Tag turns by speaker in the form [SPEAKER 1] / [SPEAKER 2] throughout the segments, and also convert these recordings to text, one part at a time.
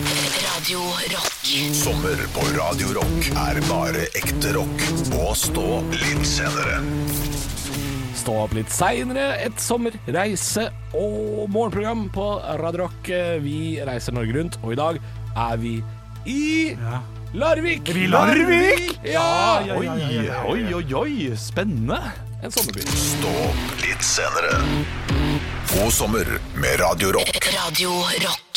[SPEAKER 1] Radio Rock.
[SPEAKER 2] Sommer på Radio Rock er bare ekte rock. Og stå litt senere.
[SPEAKER 3] Stå opp litt seinere, et sommerreise og morgenprogram på Radio Rock. Vi reiser Norge rundt, og i dag er vi i Larvik!
[SPEAKER 4] vi i Larvik?
[SPEAKER 3] Ja!
[SPEAKER 4] Oi, oi, oi, oi, spennende.
[SPEAKER 3] En sommerby.
[SPEAKER 2] Stå opp litt senere. God sommer med Radio Rock.
[SPEAKER 1] Radio Rock.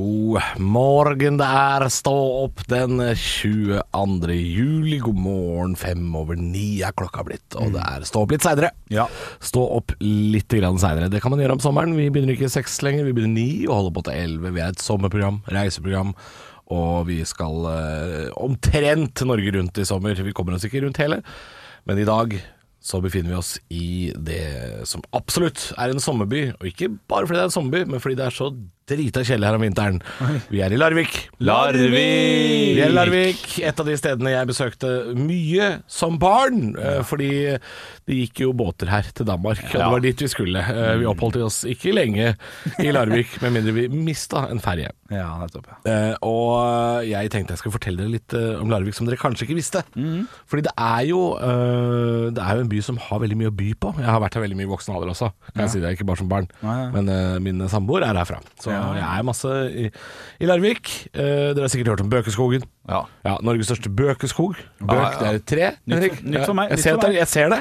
[SPEAKER 3] God morgen, det er Stå opp den 22. juli. God morgen, fem over ni er klokka blitt, og det er Stå opp litt seinere.
[SPEAKER 4] Ja.
[SPEAKER 3] Stå opp litt seinere. Det kan man gjøre om sommeren. Vi begynner ikke seks lenger, vi begynner ni og holder på til elleve. Vi er et sommerprogram, reiseprogram. Og vi skal eh, omtrent Norge rundt i sommer. Vi kommer oss ikke rundt hele, men i dag så befinner vi oss i det som absolutt er en sommerby. Og ikke bare fordi det er en sommerby, men fordi det er så drita kjedelig her om vinteren. Vi er i Larvik.
[SPEAKER 4] Larvik!
[SPEAKER 3] Vi er i Larvik, et av de stedene jeg besøkte mye som barn, eh, fordi det gikk jo båter her til Danmark, og det var dit vi skulle. Eh, Vi oppholdt oss ikke lenge i Larvik, med mindre vi mista en ferje.
[SPEAKER 4] Ja, nettopp. ja.
[SPEAKER 3] Eh, og jeg tenkte jeg skulle fortelle dere litt eh, om Larvik som dere kanskje ikke visste.
[SPEAKER 4] Mhm.
[SPEAKER 3] Fordi det er, jo, eh, det er jo en by som har veldig mye å by på. Jeg har vært her veldig mye i voksen alder også, kan jeg si det, ikke bare som barn.
[SPEAKER 4] Nei, ja.
[SPEAKER 3] Men eh, min samboer er herfra, så
[SPEAKER 4] Ja.
[SPEAKER 3] jeg er masse i, i Larvik. Eh, dere har sikkert hørt om Bøkeskogen.
[SPEAKER 4] Ja.
[SPEAKER 3] Ja, Norges største bøkeskog. Bøk,
[SPEAKER 4] Ja, ja.
[SPEAKER 3] det er et tre.
[SPEAKER 4] Nytt for-
[SPEAKER 3] Henrik.
[SPEAKER 4] nytt for meg,
[SPEAKER 3] Jeg
[SPEAKER 4] nytt
[SPEAKER 3] ser,
[SPEAKER 4] for
[SPEAKER 3] det,
[SPEAKER 4] meg.
[SPEAKER 3] jeg ser det.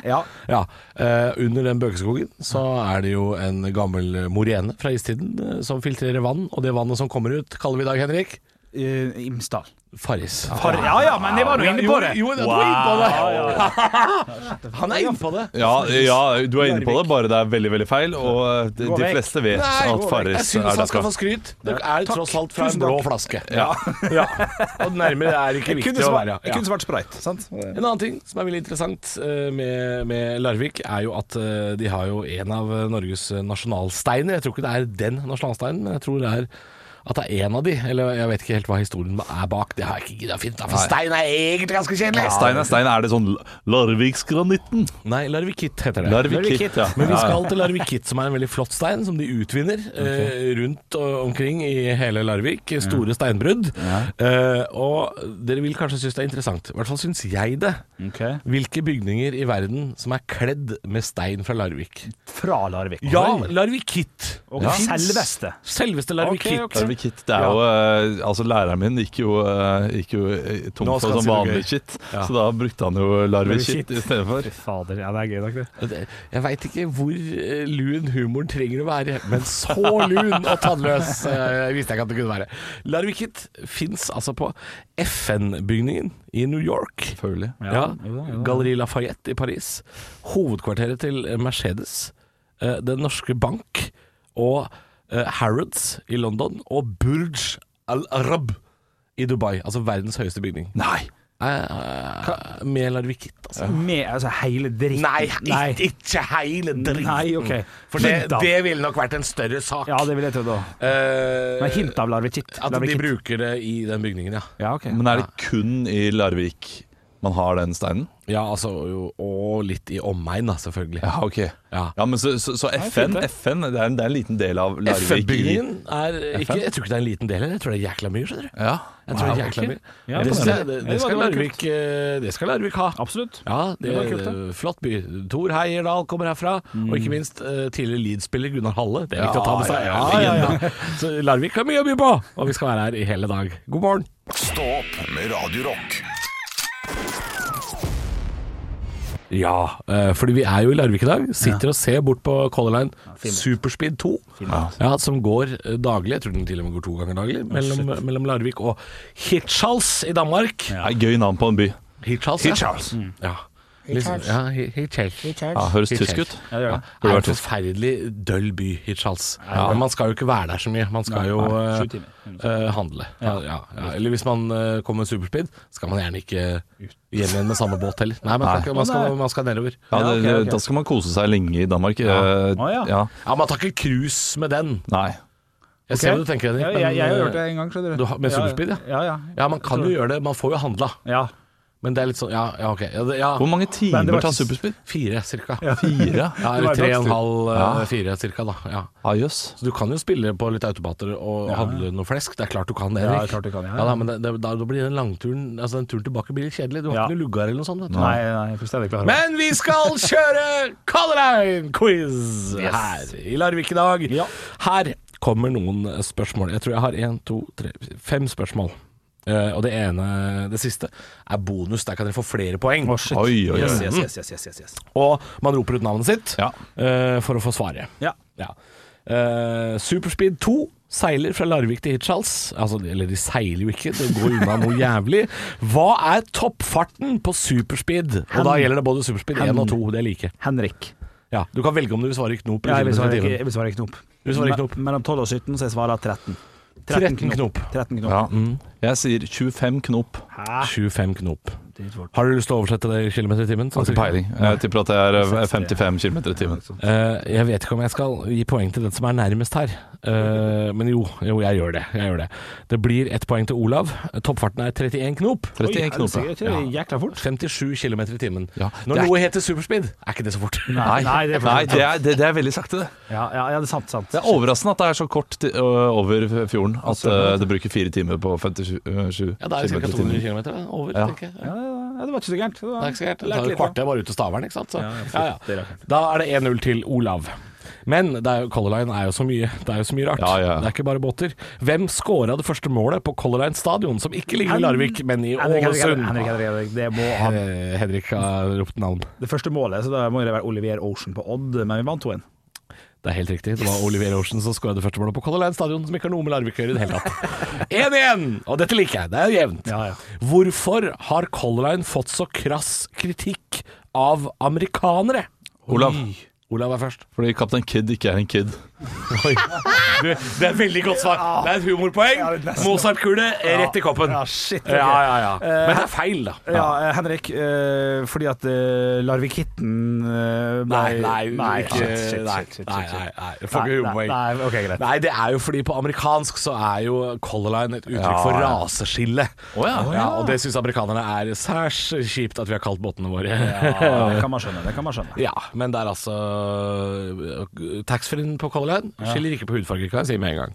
[SPEAKER 4] Ja.
[SPEAKER 3] Eh, under den bøkeskogen så er det jo en gammel morene fra istiden eh, som filtrerer vann, og det vannet som kommer ut, kaller vi i dag, Henrik,
[SPEAKER 4] Eh, Imsdal.
[SPEAKER 3] Farris.
[SPEAKER 4] ja ja, men jeg var jo inne på det.
[SPEAKER 3] Jo, jo, du er inne på det. Han er inne på det.
[SPEAKER 5] Ja, ja, du er inne på det, bare det er veldig veldig feil. Og eh, de,
[SPEAKER 4] Gå
[SPEAKER 5] de
[SPEAKER 4] vekk.
[SPEAKER 5] fleste vet
[SPEAKER 3] Nei,
[SPEAKER 5] at
[SPEAKER 3] jeg
[SPEAKER 5] Farris
[SPEAKER 3] syns
[SPEAKER 5] er
[SPEAKER 3] han skal
[SPEAKER 5] derfra.
[SPEAKER 3] få skryt. Det er tross alt fra en
[SPEAKER 4] Tusen
[SPEAKER 3] blå
[SPEAKER 4] takk.
[SPEAKER 3] flaske.
[SPEAKER 5] Ja.
[SPEAKER 3] Ja. Og nærmere er ikke viktig å være. Ja.
[SPEAKER 4] svart spreit. Sant?
[SPEAKER 3] En annen ting som er veldig interessant eh, med, med Larvik, er jo at eh, de har jo en av eh, Norges nasjonalsteiner. Jeg tror ikke det er den nasjonalsteinen, men jeg tror det er at det er en av de. Eller jeg vet ikke helt hva historien er bak. Det har jeg ikke gidda å finne ut av, for stein er egentlig ganske kjedelig.
[SPEAKER 5] Stein er stein. Er det sånn Larviksgranitten?
[SPEAKER 3] Nei, Larvikitt heter det.
[SPEAKER 5] Larvikitt, ja.
[SPEAKER 3] Men vi
[SPEAKER 5] Ja,
[SPEAKER 3] skal til Larvikitt, som er en veldig flott stein som de utvinner eh, rundt og omkring i hele Larvik. Store steinbrudd. Eh, og dere vil kanskje synes det er interessant. I hvert fall syns jeg det.
[SPEAKER 4] Ok.
[SPEAKER 3] Hvilke bygninger i verden som er kledd med stein fra Larvik?
[SPEAKER 4] Fra Larvik.
[SPEAKER 3] Ja,
[SPEAKER 4] Oi.
[SPEAKER 3] Larvikitt.
[SPEAKER 4] Og
[SPEAKER 3] Ja.
[SPEAKER 4] selveste.
[SPEAKER 3] Selveste Larvikitt.
[SPEAKER 4] Ok, ok.
[SPEAKER 5] Larvikitt, det er jo eh, Altså, læreren min gikk jo, eh, gikk jo eh, tom
[SPEAKER 3] Nå skal
[SPEAKER 5] for
[SPEAKER 3] han
[SPEAKER 5] sånn
[SPEAKER 3] si noe
[SPEAKER 5] vanlig
[SPEAKER 3] gøy.
[SPEAKER 5] shit,
[SPEAKER 3] Ja.
[SPEAKER 5] så da brukte han jo
[SPEAKER 4] Larvikitt.
[SPEAKER 5] Larvikitt istedenfor.
[SPEAKER 4] Fy fader, ja, det er gøy nok, det.
[SPEAKER 3] Det- Jeg veit ikke hvor eh, lun humoren trenger å være, men så lun og tannløs eh, visste jeg ikke at det kunne være. Larvikit fins altså på FN-bygningen i New York.
[SPEAKER 5] Selvfølgelig.
[SPEAKER 3] Ja, Galleri Lafayette i Paris. Hovedkvarteret til Mercedes. eh, Den norske bank. Og eh, Harrods i London. Og Burj al-Arab i Dubai. Altså verdens høyeste bygning.
[SPEAKER 5] Nei!
[SPEAKER 3] Eh, Med Larvikit, altså.
[SPEAKER 4] Med altså, hele dritten.
[SPEAKER 3] Nei, Ikke, ikke hele dritten.
[SPEAKER 4] Nei, ok.
[SPEAKER 3] For det,
[SPEAKER 4] Hint av.
[SPEAKER 3] det ville nok vært en større sak.
[SPEAKER 4] Ja, det vil jeg tro, da.
[SPEAKER 3] Eh,
[SPEAKER 4] Men hint av larvikitt.
[SPEAKER 3] at de
[SPEAKER 4] Larvikitt.
[SPEAKER 3] bruker det i den bygningen, ja.
[SPEAKER 4] Ja, ok.
[SPEAKER 5] Men er det kun i Larvik man har den steinen?
[SPEAKER 3] Ja, altså, jo, Og litt i omegn, da, selvfølgelig.
[SPEAKER 5] Ja, ok.
[SPEAKER 3] Ja.
[SPEAKER 5] Ja, men Så, så, så FN, FN det, er en, det er en liten del av Larvik i
[SPEAKER 3] FN-bygningen er ikke Jeg tror ikke det er en liten del, jeg tror det er jækla mye. skjønner du
[SPEAKER 5] Ja.
[SPEAKER 3] Jeg tror det er
[SPEAKER 5] Wow,
[SPEAKER 3] jækla
[SPEAKER 5] ok.
[SPEAKER 3] mye.
[SPEAKER 4] Ja,
[SPEAKER 3] det,
[SPEAKER 4] det
[SPEAKER 3] skal,
[SPEAKER 4] var
[SPEAKER 3] det,
[SPEAKER 4] det.
[SPEAKER 3] det, skal
[SPEAKER 4] Det var- det var
[SPEAKER 3] Larvik, eh, det skal Larvik ha.
[SPEAKER 4] Absolutt.
[SPEAKER 3] Ja, det,
[SPEAKER 4] Det var kult, det.
[SPEAKER 3] Flott by. Tor Heierdal kommer herfra. Og ikke minst eh, tidligere Leeds-spiller Gunnar Halle. Det er viktig å ta med seg.
[SPEAKER 5] Ja, ja,
[SPEAKER 3] Ja, ja, ja. Så Larvik har mye å by på, og vi skal være her i hele dag. God morgen.
[SPEAKER 2] Stå opp med Radio Rock.
[SPEAKER 3] Ja, eh, fordi vi er jo i Larvik i dag. Sitter og ser bort på Color Line Superspeed 2. Ja, som går eh, daglig. Jeg tror den til og med går to ganger daglig. Mellom, mellom Larvik og Hirtshals i Danmark.
[SPEAKER 5] Det er et gøy navn på en by.
[SPEAKER 3] Hirtshals, ja. Mm. ja. Liksom, ja, Hi- Hirtshals.
[SPEAKER 5] Ja, høres
[SPEAKER 3] Helt
[SPEAKER 5] tysk
[SPEAKER 3] helt.
[SPEAKER 5] ut.
[SPEAKER 4] Ja, det gjør det.
[SPEAKER 3] Det er en forferdelig døll by, Hirtshals. Men man skal jo ikke være der så mye. Man skal jo
[SPEAKER 4] nei, sju
[SPEAKER 3] eh,
[SPEAKER 4] timer.
[SPEAKER 3] eh, handle. Ja, ja, ja. Eller hvis man eh, kommer med superspeed, skal man gjerne ikke hjem igjen med samme båt heller. Nei, man skal, ikke- man skal, man skal nedover.
[SPEAKER 5] Ja, det,
[SPEAKER 4] Ja, ok, ok.
[SPEAKER 5] Da skal man kose seg lenge i Danmark. Ja.
[SPEAKER 4] Å, ja.
[SPEAKER 5] ja.
[SPEAKER 3] Ja, Man tar ikke cruise med den.
[SPEAKER 5] Nei.
[SPEAKER 3] Jeg ser hva du tenker, Henrik.
[SPEAKER 4] Ja,
[SPEAKER 3] men,
[SPEAKER 4] jeg, jeg har
[SPEAKER 3] eh,
[SPEAKER 4] gjort det en gang, skjønner
[SPEAKER 3] Du har- med superspeed, ja?
[SPEAKER 4] ja? Ja, ja.
[SPEAKER 3] Ja, man kan jo gjøre det. Man får jo handla.
[SPEAKER 4] Ja.
[SPEAKER 3] Men det er litt sånn Ja, ja ok. Ja, det, ja.
[SPEAKER 5] Hvor mange
[SPEAKER 4] Men det
[SPEAKER 5] timer
[SPEAKER 4] var
[SPEAKER 5] tar
[SPEAKER 4] ikke-
[SPEAKER 5] superspeed?
[SPEAKER 3] Fire, cirka. Ja,
[SPEAKER 4] Ja.
[SPEAKER 5] Fire? Ja,
[SPEAKER 4] Det var
[SPEAKER 3] eller tre og en
[SPEAKER 4] Dagsnytt.
[SPEAKER 3] halv, eh,
[SPEAKER 5] Ja.
[SPEAKER 3] fire cirka, da. Ja.
[SPEAKER 5] jøss.
[SPEAKER 3] Så du kan jo spille på litt automater og handle noe flesk. Det er klart du kan det,
[SPEAKER 4] Ja,
[SPEAKER 3] Erik.
[SPEAKER 4] det er klart du kan, ja, ja.
[SPEAKER 3] da, men det, det, da da blir den langturen Altså den turen tilbake blir litt kjedelig. Du har
[SPEAKER 4] Ja.
[SPEAKER 3] ikke noe luggar eller noe sånt. Vet du.
[SPEAKER 4] Nei, nei, fullstendig klar. over.
[SPEAKER 3] Men vi skal kjøre Kall det en quiz her i Larvik i dag.
[SPEAKER 4] Ja.
[SPEAKER 3] Her kommer noen spørsmål. Jeg tror jeg har én, to, tre, fem spørsmål. Eh, og det ene, det siste, er bonus. Der kan dere få flere poeng.
[SPEAKER 4] Å, shit.
[SPEAKER 5] Oi, oi,
[SPEAKER 4] Yes,
[SPEAKER 5] oi.
[SPEAKER 4] yes, yes, yes, yes, yes, yes.
[SPEAKER 3] Og man roper ut navnet sitt
[SPEAKER 5] Ja.
[SPEAKER 3] eh, for å få svare.
[SPEAKER 4] Ja.
[SPEAKER 3] Ja. Eh, Superspeed 2 seiler fra Larvik til Hirtshals. Altså, eller de seiler jo ikke, det går unna noe jævlig. Hva er toppfarten på superspeed? Og da gjelder det både superspeed 1 og 2, det er like.
[SPEAKER 4] Henrik.
[SPEAKER 3] Ja, du kan velge om du vil svare i knop
[SPEAKER 4] Ja, jeg
[SPEAKER 3] eller
[SPEAKER 4] vil svare,
[SPEAKER 3] kilometer i
[SPEAKER 4] ikke-
[SPEAKER 3] timen.
[SPEAKER 4] jeg vil svare knop.
[SPEAKER 3] Du svarer knop.
[SPEAKER 4] Me- Mellom 12 og 17, så jeg svarer 13.
[SPEAKER 3] 13 knop. mm.
[SPEAKER 4] 13 knop.
[SPEAKER 5] Ja. Jeg sier 25 knop.
[SPEAKER 4] Hæ?
[SPEAKER 3] 25 knop.
[SPEAKER 4] Dritt fort.
[SPEAKER 3] Har du lyst til å oversette det i kilometer i timen? sånn
[SPEAKER 5] Ikke
[SPEAKER 3] cirka?
[SPEAKER 5] peiling. Jeg tipper at det er eh, 55 km i timen.
[SPEAKER 3] Eh, jeg vet ikke om jeg skal gi poeng til den som er nærmest her, Eh, men jo, jo jeg, gjør det. jeg gjør det. Det blir ett poeng til Olav. Toppfarten er 31 knop.
[SPEAKER 4] Oi,
[SPEAKER 5] 31 knop.
[SPEAKER 4] helsike,
[SPEAKER 5] ja.
[SPEAKER 4] jeg tror det er Jækla fort.
[SPEAKER 3] 57 km i timen.
[SPEAKER 5] Ja,
[SPEAKER 3] Når
[SPEAKER 5] det er-
[SPEAKER 3] noe heter superspeed, er ikke det så fort.
[SPEAKER 5] Nei,
[SPEAKER 4] Nei, det er for
[SPEAKER 5] Nei,
[SPEAKER 4] sant.
[SPEAKER 5] det er, det, det er veldig sakte, det.
[SPEAKER 4] Ja, ja, ja, det er sant, sant.
[SPEAKER 5] Det er overraskende at det er så kort ti- ø, over fjorden at ø, det bruker fire timer på 57
[SPEAKER 3] Ja, det er
[SPEAKER 5] kilometer
[SPEAKER 3] ca.
[SPEAKER 5] i timen.
[SPEAKER 3] 200 km over,
[SPEAKER 5] Ja.
[SPEAKER 3] tenker jeg.
[SPEAKER 4] Ja, ja, det var ikke så gærent.
[SPEAKER 3] Det er ikke så gærent. Det
[SPEAKER 4] Lærte
[SPEAKER 3] tar et
[SPEAKER 4] litt,
[SPEAKER 3] kvarter bare ut til Stavern, ikke sant. Så,
[SPEAKER 4] Ja, ja,
[SPEAKER 3] ja,
[SPEAKER 4] flott, det er
[SPEAKER 3] ja.
[SPEAKER 4] rart.
[SPEAKER 3] Da er det 1-0 til Olav. Men det er jo, Color Line er jo så mye Det er jo så mye rart.
[SPEAKER 5] Ja, ja.
[SPEAKER 3] Det er ikke bare båter. Hvem scora det første målet på Color Line stadion, som ikke ligger i Larvik, men i
[SPEAKER 4] Henrik, Henrik, Henrik,
[SPEAKER 3] Ålesund?
[SPEAKER 4] Henrik, Henrik, Henrik, det må han.
[SPEAKER 3] Eh, Henrik har ropt navn.
[SPEAKER 4] Det første målet, så da må det være Olivier Ocean på Odd, men vi vant 2-1.
[SPEAKER 3] Det er helt riktig. Det var Oliver Ocean som skåra det første målet på Color Line stadion, som ikke har noe med Larvik å gjøre i det hele tatt. 1-1! Og dette liker jeg. Det er jevnt.
[SPEAKER 4] Ja, ja.
[SPEAKER 3] Hvorfor har Color Line fått så krass kritikk av amerikanere?
[SPEAKER 5] Olav,
[SPEAKER 3] Olav er først.
[SPEAKER 5] fordi Kaptein Kid ikke er en kid.
[SPEAKER 3] Du, det er et veldig godt svar. Det er et humorpoeng. Mozart-kule rett i koppen.
[SPEAKER 4] Ja, Ah, shit, ok.
[SPEAKER 3] Ja, ja, ja. Men det er feil, da.
[SPEAKER 4] Ja, eh, Henrik, eh, fordi at eh, Larvik-hitten eh, ble-
[SPEAKER 3] Nei, nei, ikke-
[SPEAKER 4] shit, shit, shit,
[SPEAKER 3] nei,
[SPEAKER 4] shit, shit,
[SPEAKER 3] nei,
[SPEAKER 4] shit.
[SPEAKER 3] nei, nei, jeg får ikke
[SPEAKER 4] Nei,
[SPEAKER 3] humorpoeng.
[SPEAKER 4] Nei, nei, ok, greit.
[SPEAKER 3] Nei, det er jo fordi på amerikansk så er jo Color Line et uttrykk
[SPEAKER 5] Ja,
[SPEAKER 3] for
[SPEAKER 5] ja.
[SPEAKER 3] raseskille.
[SPEAKER 5] Å ja.
[SPEAKER 3] ja, og det syns amerikanerne er særs kjipt at vi har kalt båtene våre.
[SPEAKER 4] Ja, det kan man skjønne, det kan man skjønne.
[SPEAKER 3] Ja, men det er altså øh, Taxfree-en på Color Line skiller ikke på hudfarge, kan jeg si med en gang.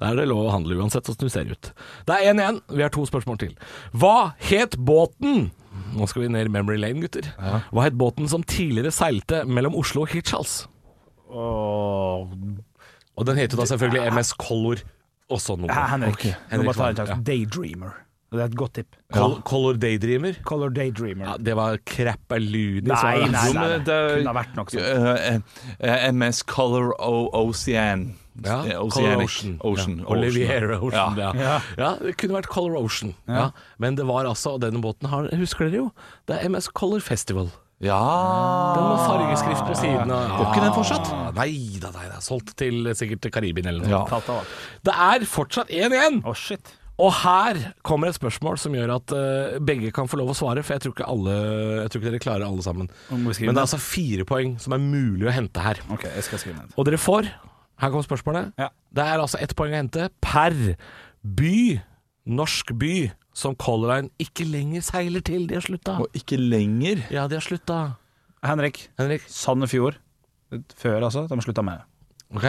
[SPEAKER 3] Der er det lov å handle uansett åssen du ser ut. Det er 1-1. Vi har to spørsmål til. Hva het båten Nå skal vi ned i memory lane, gutter. Hva het båten som tidligere seilte mellom Oslo og Hirtshals?
[SPEAKER 4] Åh,
[SPEAKER 3] Og den heter jo da selvfølgelig MS Color også nå.
[SPEAKER 4] Hæ, Henrik,
[SPEAKER 3] Henrik
[SPEAKER 4] nå må jeg ta en
[SPEAKER 3] Svan,
[SPEAKER 4] sjanse. Daydreamer. Det er et godt tipp.
[SPEAKER 3] Col Color Daydreamer?
[SPEAKER 4] Color Daydreamer.
[SPEAKER 3] Ja, det var crappalunis.
[SPEAKER 4] Nei, nei,
[SPEAKER 5] Jo,
[SPEAKER 4] nei,
[SPEAKER 5] men
[SPEAKER 4] nei.
[SPEAKER 5] det er-
[SPEAKER 4] Kunne ha vært nok sånn.
[SPEAKER 5] Ø, ø, ø, MS Color O Ocean.
[SPEAKER 3] Ja,
[SPEAKER 5] Eh,
[SPEAKER 3] Color
[SPEAKER 5] Oceanic.
[SPEAKER 3] Ocean.
[SPEAKER 5] Ocean.
[SPEAKER 3] ja. Olivier Ocean,
[SPEAKER 5] Ja.
[SPEAKER 3] ja. Ja. Det kunne vært Color Ocean. Ja. Men det var altså, og denne båten har, husker dere jo, det er MS Color Festival.
[SPEAKER 5] ja.
[SPEAKER 3] Den med fargeskrift på siden. av-
[SPEAKER 5] Går ikke den fortsatt?
[SPEAKER 3] Ah, Nei da, nei da. Solgt til eh, sikkert til Karibien eller noe.
[SPEAKER 5] Ja.
[SPEAKER 4] Tatt av.
[SPEAKER 3] Det er fortsatt 1-1.
[SPEAKER 4] Å, shit.
[SPEAKER 3] Og her kommer et spørsmål som gjør at eh, begge kan få lov å svare, for jeg tror ikke, alle, jeg tror ikke dere klarer alle sammen.
[SPEAKER 4] Nå må vi
[SPEAKER 3] Men
[SPEAKER 4] skrive
[SPEAKER 3] det er
[SPEAKER 4] ned.
[SPEAKER 3] altså fire poeng som er mulig å hente her.
[SPEAKER 4] Ok, jeg skal skrive ned.
[SPEAKER 3] Og dere får Her kommer spørsmålet.
[SPEAKER 4] Ja.
[SPEAKER 3] Det er altså ett poeng å hente per by, norsk by, som Color Line ikke lenger seiler til. De har slutta.
[SPEAKER 5] Og ikke lenger.
[SPEAKER 3] Ja, de har slutta.
[SPEAKER 4] Henrik.
[SPEAKER 3] Henrik?
[SPEAKER 4] Sandefjord. Før, altså. De slutta med det.
[SPEAKER 3] Ok?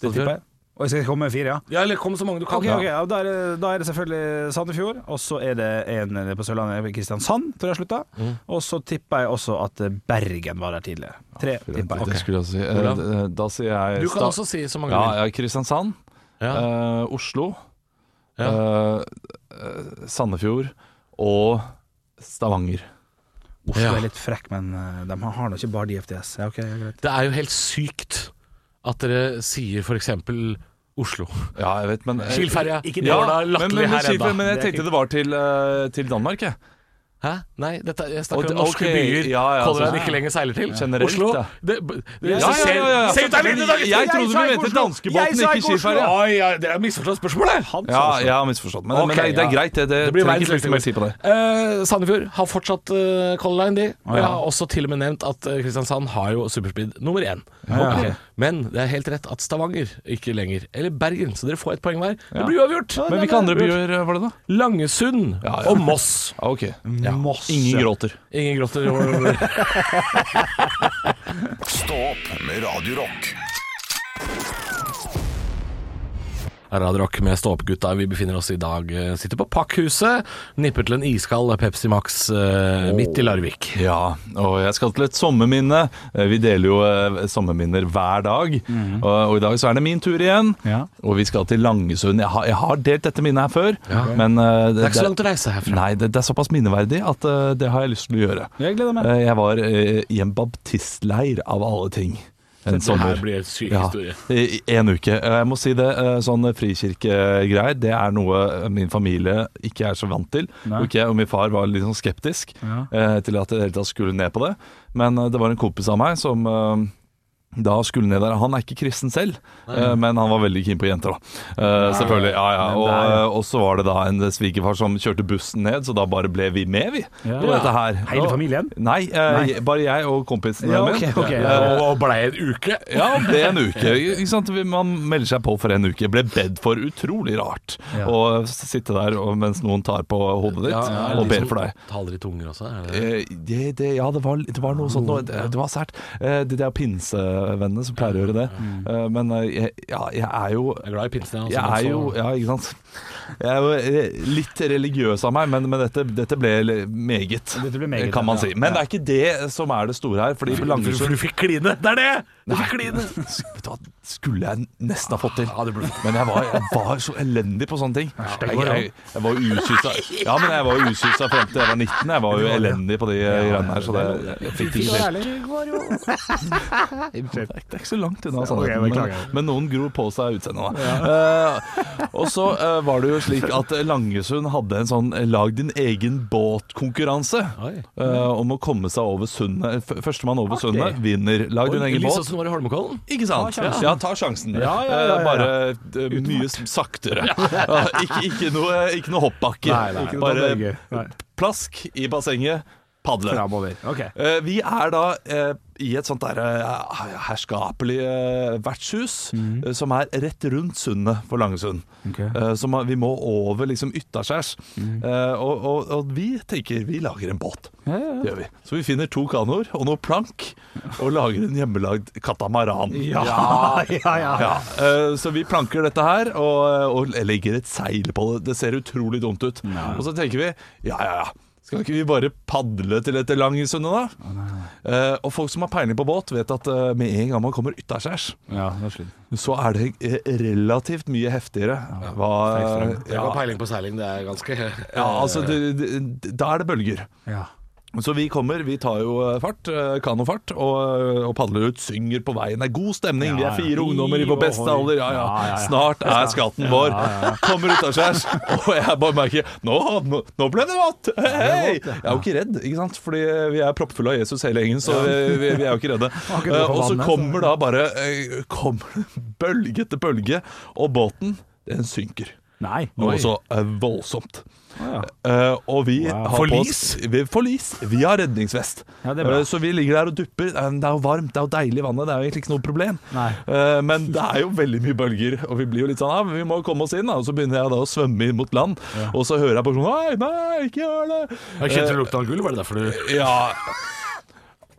[SPEAKER 4] Det tipper jeg. Og jeg skal komme med fire, ja.
[SPEAKER 3] Ja, eller kom så mange du kan.
[SPEAKER 4] Ok, ok, ja, da, er det, da er det selvfølgelig Sandefjord, og så er det en på Sørlandet, Kristiansand, tror jeg slutta. Og så tipper jeg også at Bergen var der tidligere. Tre, tipper jeg.
[SPEAKER 5] Det skulle jeg si. Eh,
[SPEAKER 3] Olav?
[SPEAKER 5] d- Da sier jeg
[SPEAKER 3] Du kan
[SPEAKER 5] sta-
[SPEAKER 3] også si så mange du vil.
[SPEAKER 5] ja, ja, Kristiansand.
[SPEAKER 3] Ja.
[SPEAKER 5] eh, Oslo, eh, eh, Sandefjord og Stavanger.
[SPEAKER 4] Oslo
[SPEAKER 3] Ja.
[SPEAKER 4] er litt frekk, men eh, de har nå ikke bare de FTS. Ja, ok, ja, greit.
[SPEAKER 3] Det er jo helt sykt at dere sier for eksempel Oslo.
[SPEAKER 5] Ja, jeg vet, men eh,
[SPEAKER 3] Skilferja. Ikke
[SPEAKER 5] ja, men,
[SPEAKER 3] latterlig
[SPEAKER 5] men,
[SPEAKER 3] her ennå.
[SPEAKER 5] Skilferja, men jeg tenkte det var til, eh, til Danmark, jeg.
[SPEAKER 3] Hæ? Nei, dette, jeg
[SPEAKER 5] Og
[SPEAKER 3] snakker
[SPEAKER 5] det-
[SPEAKER 3] om norske
[SPEAKER 5] ok,
[SPEAKER 3] byer.
[SPEAKER 5] ja, ja,
[SPEAKER 3] Color Line
[SPEAKER 5] altså,
[SPEAKER 3] ikke lenger seiler til.
[SPEAKER 5] Generelt,
[SPEAKER 3] Oslo
[SPEAKER 5] da.
[SPEAKER 3] det, b- det-
[SPEAKER 5] Ja,
[SPEAKER 3] så
[SPEAKER 5] ja, ja, ja.
[SPEAKER 3] ser- Se ut der litt i dag!
[SPEAKER 5] Jeg trodde du
[SPEAKER 4] sa ikke
[SPEAKER 5] mente
[SPEAKER 4] Oslo.
[SPEAKER 5] danskebåten,
[SPEAKER 4] Jeg sa
[SPEAKER 5] ikke
[SPEAKER 4] Oslo.
[SPEAKER 5] skilferja.
[SPEAKER 3] Oi, oi, dere har misforstått spørsmålet! Han
[SPEAKER 5] Ja, jeg har misforstått, men,
[SPEAKER 3] Ok,
[SPEAKER 5] men det, er- det er
[SPEAKER 3] ja.
[SPEAKER 5] greit. Det, det,
[SPEAKER 3] Det blir
[SPEAKER 5] trenger
[SPEAKER 3] verdens
[SPEAKER 5] ikke så mye å si på det.
[SPEAKER 3] Eh, Sandefjord har fortsatt eh, Color Line, de. Og jeg
[SPEAKER 4] ja.
[SPEAKER 3] har også til og med nevnt at eh, Kristiansand har jo superspeed nummer én.
[SPEAKER 4] ja,
[SPEAKER 3] Ok.
[SPEAKER 4] ja.
[SPEAKER 3] Men det er helt rett at Stavanger ikke lenger. Eller Bergen, så dere får et poeng hver. Det blir uavgjort.
[SPEAKER 5] Men hvilke andre byer eh, var det, da?
[SPEAKER 3] Langesund
[SPEAKER 5] Ja, ja.
[SPEAKER 3] og Moss.
[SPEAKER 5] Ah, ok.
[SPEAKER 3] Ja.
[SPEAKER 4] Masse.
[SPEAKER 5] Ingen gråter.
[SPEAKER 3] Ingen gråter. over-
[SPEAKER 2] Stå opp med Radio Rock.
[SPEAKER 3] Radio Rock med Stå-opp-gutta. Vi befinner oss i dag eh, Sitter på Pakkhuset. Nipper til en iskald Pepsi Max eh, midt i Larvik.
[SPEAKER 5] Ja, og jeg skal til et sommerminne. Eh, Vi deler jo eh, sommerminner hver dag. Og, og i dag så er det min tur igjen.
[SPEAKER 4] Ja.
[SPEAKER 5] Og vi skal til Langesund. Jeg har, jeg har delt dette minnet her før. Men eh,
[SPEAKER 3] Det er ikke så langt å reise herfra.
[SPEAKER 5] Nei, det, det er såpass minneverdig at eh, det har jeg lyst til å gjøre.
[SPEAKER 4] Jeg gleder meg.
[SPEAKER 5] Eh, jeg var eh, i en baptistleir av alle ting. En
[SPEAKER 3] Dette
[SPEAKER 5] sommer.
[SPEAKER 3] her blir en syk historie.
[SPEAKER 5] i- i en uke. Eh, Jeg må si det, eh, sånn frikirkegreier, det er noe eh, min familie ikke er så vant til.
[SPEAKER 4] Nei.
[SPEAKER 5] Og, ikke jeg og min far var litt sånn skeptisk
[SPEAKER 4] Ja.
[SPEAKER 5] eh, til at jeg i det hele tatt skulle ned på det. Men eh, det var en kompis av meg som eh, da skulle ned der. Han er ikke kristen selv, eh, men han var veldig keen på jenter, da. Eh, Selvfølgelig. Ja, ja. Og, eh, og så var det da en svigerfar som kjørte bussen ned, så da bare ble vi med, vi.
[SPEAKER 4] Ja.
[SPEAKER 5] På dette her.
[SPEAKER 4] Hele familien?
[SPEAKER 5] Nei, eh, jeg- bare jeg og kompisen
[SPEAKER 4] Ja,
[SPEAKER 5] min.
[SPEAKER 4] ok, ok.
[SPEAKER 5] Eh,
[SPEAKER 3] Og, og blei en uke.
[SPEAKER 5] ja, det er en uke. Ikke sant? Man melder seg på for en uke. Ble bedt for utrolig rart.
[SPEAKER 4] Ja.
[SPEAKER 5] Å sitte der og- mens noen tar på hodet ditt
[SPEAKER 3] er det
[SPEAKER 5] og
[SPEAKER 3] de
[SPEAKER 5] ber
[SPEAKER 3] som
[SPEAKER 5] for deg.
[SPEAKER 3] Taler i tunger også? Er det?
[SPEAKER 5] liksom. Eh, Det, det, ja, det var, det var noe sånt. noe- Det, det var sært. Eh, Det, det er pinsevennene som pleier å gjøre det. Eh, Men eh, jeg, ja, jeg er jo
[SPEAKER 3] Jeg altså, er glad i pinsen,
[SPEAKER 5] jeg er jo Ja, ikke sant. Jeg er jo eh, litt religiøs av meg, men, men dette, dette ble le- meget,
[SPEAKER 4] Dette ble meget,
[SPEAKER 5] kan man
[SPEAKER 4] ja.
[SPEAKER 5] si. Men det er ikke det som er det store her. Fordi på
[SPEAKER 3] Du,
[SPEAKER 5] Langesund
[SPEAKER 3] du fikk kline! Det er det! Du fikk
[SPEAKER 5] Nei,
[SPEAKER 3] kline!
[SPEAKER 5] vet du hva, skulle jeg nesten ha fått til. Men jeg var, jeg var så elendig på sånne ting. Jeg, jeg, jeg var jo usysa Ja, men jeg var jo usysa frem til jeg var 19. Jeg var jo elendig på de eh, greiene her, så det jeg fikk det ikke til. Det er det er ikke så langt unna sannheten, men, men noen gror på seg utseendet. da. Eh, og så eh, var det jo slik at Langesund hadde en sånn eh, lag din egen båtkonkurranse
[SPEAKER 3] Oi.
[SPEAKER 5] eh, om å komme seg over sundet. F- Førstemann over sundet vinner. Lag din egen
[SPEAKER 3] Litt sånn
[SPEAKER 5] båt.
[SPEAKER 3] som det var i Holmenkollen.
[SPEAKER 5] Ikke sant?
[SPEAKER 4] Ta sjansen.
[SPEAKER 5] Ja, ta sjansen.
[SPEAKER 4] Ja, ja, ja, ja, ja.
[SPEAKER 5] Eh, Bare eh, mye s- saktere. Ja, ikke, ikke noe, ikke noe hoppbakke.
[SPEAKER 4] Nei, nei, ikke noe
[SPEAKER 5] bare
[SPEAKER 4] hoppbakke. Nei.
[SPEAKER 5] plask i bassenget, padle.
[SPEAKER 4] Framover. Ok.
[SPEAKER 5] Eh, Vi er da eh, i et sånt der eh, herskapelig eh, vertshus, eh, som er rett rundt sundet for Langesund. Eh, Som er- vi må over liksom yttaskjærs. Eh, Og, og, og vi tenker vi lager en båt. Det gjør vi. Så vi finner to kanoer og noe plank, og lager en hjemmelagd katamaran.
[SPEAKER 4] Ja, ja, ja.
[SPEAKER 5] Ja, eh, så vi planker dette her og, eh, og legger et seil på det. Det ser utrolig dumt ut. Og så tenker vi ja, ja, ja. Skal ikke vi bare padle til dette Langesundet, da? Eh, og folk som har peiling på båt, vet at eh, med en gang man kommer utaskjærs,
[SPEAKER 4] Ja, det er slutt.
[SPEAKER 5] så er det eh, relativt mye heftigere hva
[SPEAKER 3] Jeg har
[SPEAKER 5] ja,
[SPEAKER 3] peiling på seiling, det er ganske
[SPEAKER 5] ja, altså det, det, Da er det bølger.
[SPEAKER 4] Ja.
[SPEAKER 5] Så vi kommer, vi tar jo eh, fart, eh, kanofart, og, eh, og padler ut, synger på veien. Det er god stemning, vi
[SPEAKER 4] Ja,
[SPEAKER 5] er
[SPEAKER 4] ja.
[SPEAKER 5] fire ungdommer i vår beste
[SPEAKER 4] Ohoi.
[SPEAKER 5] alder. Ja,
[SPEAKER 4] Ja, ja,
[SPEAKER 5] ja.
[SPEAKER 4] ja.
[SPEAKER 5] Snart er skatten vår. Kommer ut av skjærs, og jeg bare merker Nå, nå, nå ble det vått! Hei! Jeg er jo ikke redd, ikke sant? Fordi vi er proppfulle av Jesus hele gjengen, så vi, vi, vi er jo ikke redde.
[SPEAKER 4] ikke
[SPEAKER 5] Eh,
[SPEAKER 4] noe på
[SPEAKER 5] Og så
[SPEAKER 4] vannet, så-
[SPEAKER 5] kommer da bare eh, kommer det bølge etter bølge, og båten, den synker.
[SPEAKER 4] Nei.
[SPEAKER 5] Noe så eh, voldsomt.
[SPEAKER 4] Ja.
[SPEAKER 5] Eh, og vi
[SPEAKER 4] Wow.
[SPEAKER 5] har på oss vi, Forlis! Vi har redningsvest.
[SPEAKER 4] Ja, det er bra.
[SPEAKER 5] Eh, så vi ligger der og dupper. Eh, Det er jo varmt, det er jo deilig i vannet. Det er jo egentlig ikke noe problem.
[SPEAKER 4] Nei.
[SPEAKER 5] Eh, men det er jo veldig mye bølger, og vi blir jo litt sånn ah, men Vi må komme oss inn, da. Og så begynner jeg da å svømme inn mot land, og så hører jeg på sånn Nei, nei, ikke gjør det!
[SPEAKER 3] Jeg kjente du lukta av gull, var det derfor du
[SPEAKER 5] Ja